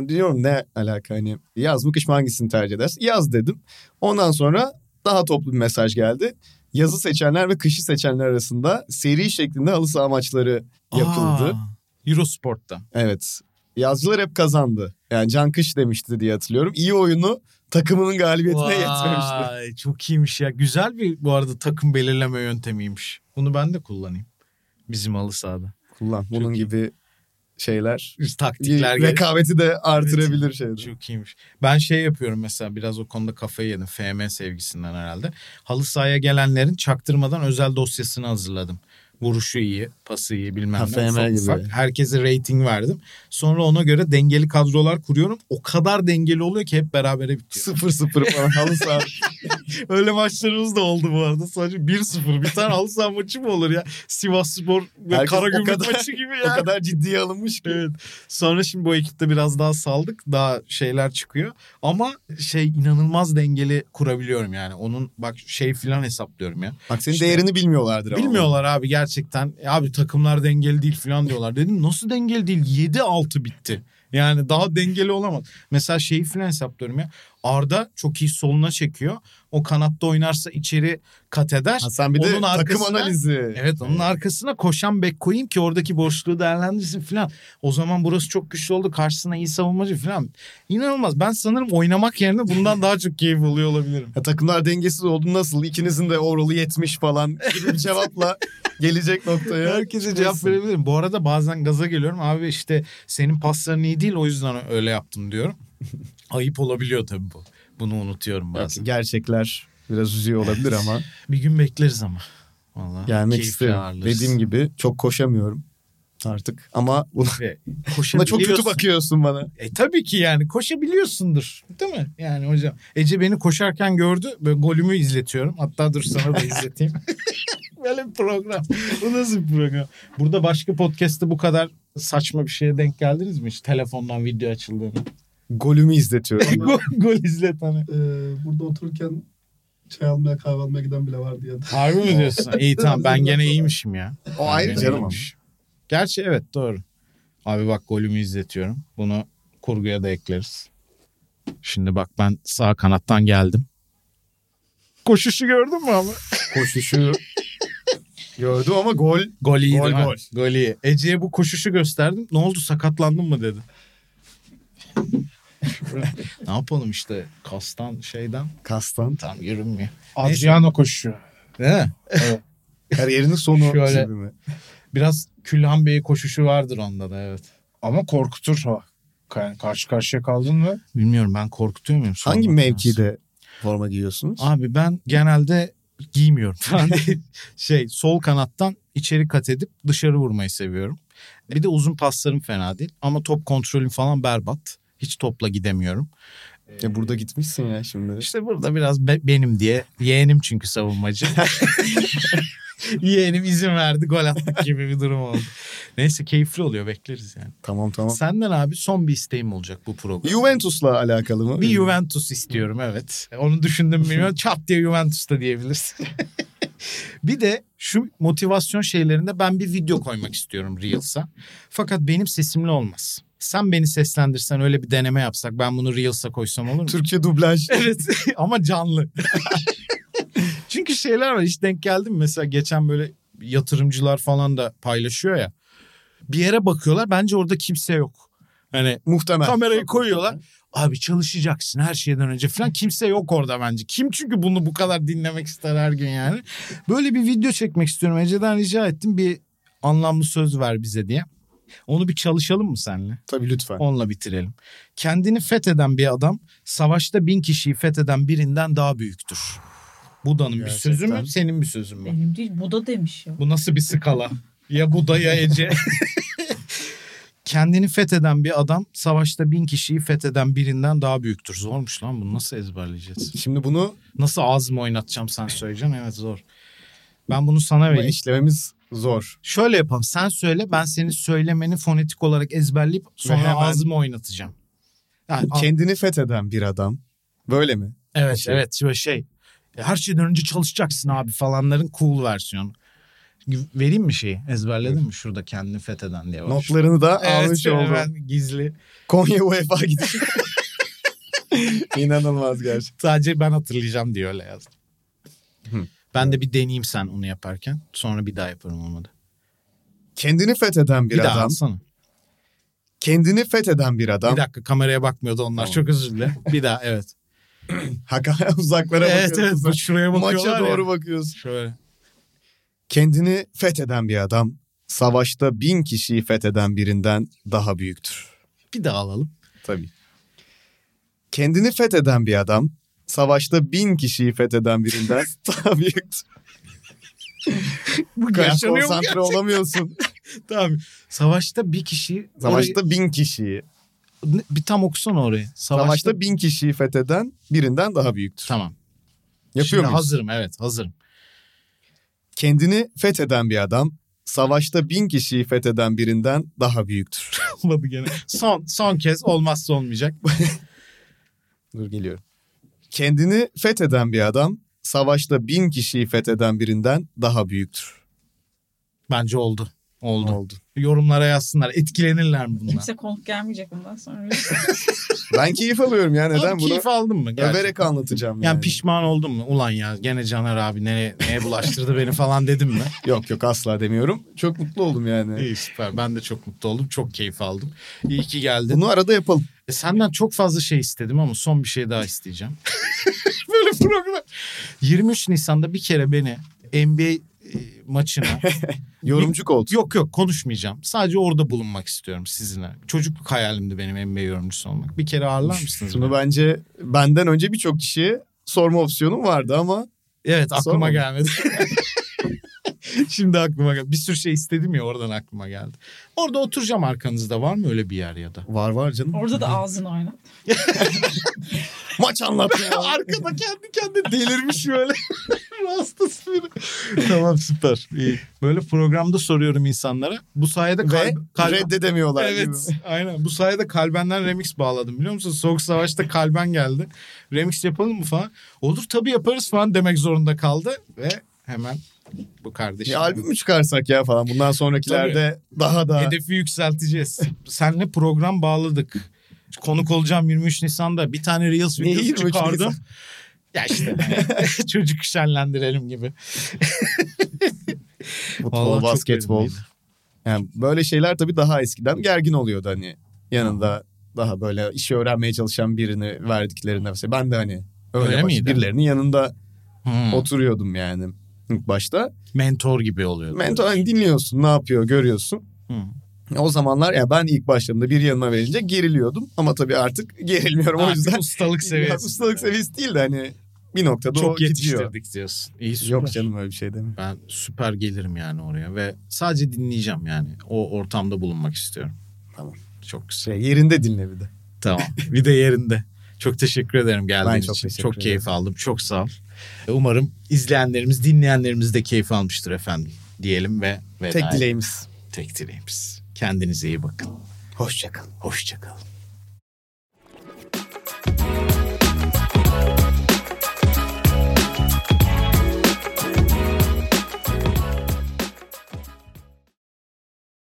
Diyorum ne alaka hani yaz mı kış mı hangisini tercih edersin? Yaz dedim. Ondan sonra daha toplu bir mesaj geldi. Yazı seçenler ve kışı seçenler arasında seri şeklinde halı saha maçları yapıldı.
Aa, Eurosport'ta.
Evet. Yazcılar hep kazandı. Yani Can Kış demişti diye hatırlıyorum. İyi oyunu takımının galibiyetine yetmemişti.
Vay, Çok iyiymiş ya. Güzel bir bu arada takım belirleme yöntemiymiş. Bunu ben de kullanayım. Bizim halı sahada.
Kullan bunun gibi şeyler.
Taktikler
Bir rekabeti de artırabilir
gel-
şeyler.
Çok iyiymiş. Ben şey yapıyorum mesela biraz o konuda kafayı yedim. FM sevgisinden herhalde. Halı sahaya gelenlerin çaktırmadan özel dosyasını hazırladım. Vuruşu iyi, pası iyi bilmem
Ha,
ne.
FM
ufak
gibi.
ufak. Herkese rating verdim. Sonra ona göre dengeli kadrolar kuruyorum. O kadar dengeli oluyor ki hep berabere bitiyor. *laughs*
Sıfır sıfır falan halı saha.
Öyle maçlarımız da oldu bu arada. Sadece 1-0 bir tane halı saha maçı mı olur ya? Sivas Spor ve
Herkes o
Karagümrük
kadar-
maçı gibi
*laughs* o
ya.
kadar ciddiye alınmış ki.
Evet. Sonra şimdi bu ekipte biraz daha saldık. Daha şeyler çıkıyor. Ama şey inanılmaz dengeli kurabiliyorum yani. Onun bak şey filan hesaplıyorum ya.
Bak senin
İşte-
değerini bilmiyorlardır ama.
Bilmiyorlar abi gerçekten. "E Abi takımlar dengeli değil filan diyorlar. Dedim nasıl dengeli değil? 7-6 bitti. Yani daha dengeli olamaz. Mesela şeyi filan hesaplıyorum ya. Arda çok iyi soluna çekiyor. O kanatta oynarsa içeri kat eder.
Ha, sen bir de
Onun
takım
arkasına-
analizi.
Evet onun arkasına koşan bek koyayım ki oradaki boşluğu değerlendirsin filan. O zaman burası çok güçlü oldu. Karşısına iyi savunmacı filan. İnanılmaz. Ben sanırım oynamak yerine
*laughs*
bundan daha çok keyif alıyor olabilirim.
Ya takımlar dengesiz oldu nasıl? İkinizin de overall'ı 70 falan
*laughs*
gibi bir cevapla gelecek noktaya.
Herkese cevap verebilirim. Bu arada bazen gaza geliyorum. Abi işte senin pasların iyi değil o yüzden öyle yaptım
*laughs*
diyorum. Ayıp olabiliyor tabii bu. Bunu unutuyorum
Bak,
bazen.
Gerçekler biraz üzüyor olabilir ama
Bir gün bekleriz ama. Vallahi
gelmek
keyifle
isterim.
Hani ağırlarız.
Dediğim gibi çok koşamıyorum artık ama buna,
Ve
buna çok kötü
koşabiliyorsun.
bakıyorsun bana.
E tabii ki yani koşabiliyorsundur değil mi? Yani hocam *laughs* Ece beni koşarken gördü böyle golümü izletiyorum. Hatta dur sana da
*laughs*
*laughs*
izleteyim. *laughs* böyle bir program. Bu nasıl bir program? Burada başka podcast'te bu kadar saçma bir şeye denk geldiniz mi? Hiç telefondan video açıldığını.
Golümü izletiyorum.
gol, gol izlet hani.
Ee, burada otururken çay almaya kahve almaya giden bile vardı ya.
Harbi mi diyorsun? İyi tamam ben gene iyiymişim ya.
o ayrı
Yani
canım ama.
iyiymiş. Gerçi evet doğru. Abi bak golümü izletiyorum. Bunu kurguya da ekleriz. Şimdi bak ben sağ kanattan geldim. Koşuşu gördün mü ama?
Koşuşu gördüm ama gol
*laughs* Gol iyi
Gol,
değil mi?
gol.
Gol iyi. Ece'ye bu koşuşu gösterdim. Ne oldu sakatlandın mı
*laughs*
dedi. ne yapalım işte kastan şeyden
kastan.
tam yürünmüyor.
Adriano koşuyor.
Değil mi?
Kariyerinin sonu
Şöyle.
gibi mi?
Biraz Külhan Bey koşuşu vardır onda da evet.
Ama korkutur o. Ka- Karşı karşıya kaldın mı?
Bilmiyorum ben korkutuyor muyum?
Hangi
Sormak lazım.
mevkide forma giyiyorsunuz?
Abi ben genelde giymiyorum *laughs* falan diye şey sol kanattan içeri kat edip dışarı vurmayı seviyorum. Bir de uzun paslarım fena değil ama top kontrolüm falan berbat. Hiç topla gidemiyorum.
Ya burada gitmişsin ya şimdi.
İşte burada biraz be- benim diye yeğenim çünkü
*laughs*
savunmacı. yeğenim izin verdi gol attık gibi bir durum oldu. Neyse keyifli oluyor bekleriz yani.
Tamam tamam.
Senden abi son bir isteğim olacak bu program.
Juventus'la alakalı mı?
Bir Juventus istiyorum evet. Onu düşündüm bilmiyorum. Çat diye Juventus da diyebilirsin. *laughs* bir de şu motivasyon şeylerinde ben bir video koymak istiyorum Reels'a. Fakat benim sesimli olmaz. Sen beni seslendirsen öyle bir deneme yapsak ben bunu Reels'a koysam olur mu?
*laughs* Türkçe dublaj.
Evet *laughs* ama canlı. Çünkü şeyler var hiç denk geldi mi? Mesela geçen böyle yatırımcılar falan da paylaşıyor ya. Bir yere bakıyorlar bence orada kimse yok. Hani
Muhtemel.
kamerayı koyuyorlar. Abi çalışacaksın her şeyden önce falan. Kimse yok orada bence. Kim çünkü bunu bu kadar dinlemek ister her gün yani. Böyle bir video çekmek istiyorum. Ece'den rica ettim bir anlamlı söz ver bize diye. Onu bir çalışalım mı seninle?
Tabii lütfen.
Onunla bitirelim. Kendini fetheden bir adam savaşta bin kişiyi fetheden birinden daha büyüktür. Buda'nın bir sözü mü
Gerçekten.
senin bir sözün mü?
Benim değil bu da demiş ya.
Bu nasıl bir skala? Ya Buda ya
*laughs*
Ece. Kendini fetheden bir adam savaşta bin kişiyi fetheden birinden daha büyüktür. Zormuş lan bunu nasıl ezberleyeceğiz?
Şimdi bunu
Nasıl ağzımı oynatacağım sen söyleyeceksin? Evet zor. Ben bunu sana
ama
vereyim.
işlememiz zor.
Şöyle yapalım. Sen söyle ben senin söylemeni fonetik olarak ezberleyip sonra
hemen-
ağzımı oynatacağım. Yani,
Kendini fetheden bir adam. Böyle mi?
Evet
Şey.
evet böyle şey. e, Her şeyden önce çalışacaksın abi falanların cool versiyonu. Vereyim mi şeyi? Ezberledin mi? Şurada kendini fetheden diye var.
Notlarını da
Evet,
almış oldum.
hemen gizli.
Konya UEFA gidiyor. *laughs* İnanılmaz gerçekten.
Sadece ben hatırlayacağım diye öyle yazdım.
Hı.
Ben de bir deneyeyim sen onu yaparken. Sonra bir daha yaparım olmadı.
Kendini fetheden bir,
Bir, daha
adam.
alsana.
Kendini fetheden bir adam.
Bir dakika kameraya bakmıyordu onlar.
Tamam.
Çok özür dilerim. Bir daha
*laughs*
evet.
Haka *laughs* uzaklara
evet evet
bakıyorsun.
bak şuraya bakıyorlar
Maça
ya.
doğru bakıyorsun.
Şöyle.
Kendini fetheden bir adam. Savaşta bin kişiyi fetheden birinden daha büyüktür.
Bir daha alalım.
Tabii. Kendini fetheden bir adam, savaşta bin kişiyi
*laughs*
fetheden birinden daha büyüktür.
Bu
Karşı
yaşanıyor mu? *laughs*
konsantre olamıyorsun.
Tamam. Savaşta bir kişi...
Savaşta
Orayı-
bin kişiyi,
Ne- bir tam okusana orayı.
savaşta,
Savaşta...
bin kişiyi fetheden birinden daha büyüktür.
Tamam.
Yapıyor
Şimdi
muyuz?
hazırım evet hazırım.
Kendini fetheden bir adam savaşta bin kişiyi fetheden birinden daha büyüktür.
Olmadı gene. Son, son kez olmazsa olmayacak. *laughs*
Dur geliyorum. Kendini fetheden bir adam savaşta bin kişiyi fetheden birinden daha büyüktür.
Bence oldu. Oldu. Yorumlara yazsınlar. Etkilenirler mi bundan?
Kimse konuk gelmeyecek bundan sonra.
Ben keyif alıyorum ya *laughs* neden
Oğlum,
bunu?
Keyif aldın mı? Gerçekten.
Överek anlatacağım yani.
Yani pişman oldun mu? Ulan ya gene Caner abi nereye, neye bulaştırdı beni falan dedim mi?
*laughs* Yok yok asla demiyorum. Çok mutlu oldum yani.
İyi süper. Ben de çok mutlu oldum. Çok keyif aldım. İyi ki geldin.
Bunu arada yapalım.
E, senden çok fazla şey istedim ama son bir şey daha isteyeceğim. *laughs* Böyle program. 23 Nisan'da bir kere beni NBA e, maçına
Yorumcu koltuğu.
yok yok konuşmayacağım. Sadece orada bulunmak istiyorum sizinle. Çocukluk hayalimdi benim NBA yorumcusu olmak. Bir kere ağırlar mısınız?
Bunu
beni?
bence benden önce birçok kişiye sorma opsiyonum vardı ama
Evet aklıma
Sorma.
gelmedi. *laughs* Şimdi aklıma geldi. Bir sürü şey istedim ya oradan aklıma geldi. Orada oturacağım arkanızda var mı öyle bir yer ya da?
var var canım.
Orada da ağzını oynat.
Maç anlattım.
*laughs* Arkada kendi kendine delirmiş böyle. *laughs* Rastası biri. tamam süper. İyi. Böyle programda soruyorum insanlara. Bu sayede
Ve
kalb kalb-
reddedemiyorlar. değil mi?
Evet aynen bu sayede Kalben'den remix bağladım biliyor musun? Soğuk Savaş'ta Kalben geldi. Remix yapalım mı falan. Olur tabii yaparız falan demek zorunda kaldı. Ve hemen bu kardeşim.
Ya albüm mü çıkarsak ya falan bundan sonrakilerde daha da
Hedefi yükselteceğiz. Senle program bağladık. Konuk olacağım 23 Nisan'da. Bir tane Reels
Niye
videosu
23
çıkardım.
Nisan?
Ya işte *laughs* çocuk şenlendirelim gibi. Vallahi
futbol,
çok
basketbol.
verimliydi.
Yani böyle şeyler tabii daha eskiden gergin oluyordu hani. Yanında daha böyle işi öğrenmeye çalışan birini verdiklerinde mesela ben de hani öyle,
Öyle
baş-
miydi?
birilerinin yanında
Hmm.
oturuyordum yani ilk başta.
Mentor gibi oluyordu.
Mentor hani dinliyorsun, ne yapıyor, görüyorsun.
Hı.
O zamanlar ya ben ilk başladığımda bir yanıma verilince geriliyordum ama tabii artık gerilmiyorum o
Artık
yüzden.
ustalık
Ya,
seviyesi.
ustalık seviyesi değil de hani bir noktada o
Çok
gidiyor.
yetiştirdik diyorsun. İyi süper.
Yok canım öyle bir şey demiyorum.
Ben süper gelirim yani oraya ve sadece dinleyeceğim yani. O ortamda bulunmak istiyorum.
Tamam.
Çok güzel.
Şey, yerinde dinle bir de.
Tamam. *laughs* Bir de yerinde. Çok teşekkür ederim geldiğiniz
Ben çok
için.
teşekkür
Çok
ederim.
keyif aldım. Çok sağ ol. E, Umarım izleyenlerimiz, dinleyenlerimiz de keyif almıştır efendim diyelim ve veda
Tek
edelim.
dileğimiz.
Tek dileğimiz. Kendinize iyi bakın.
Hoşçakalın.
Hoşçakalın.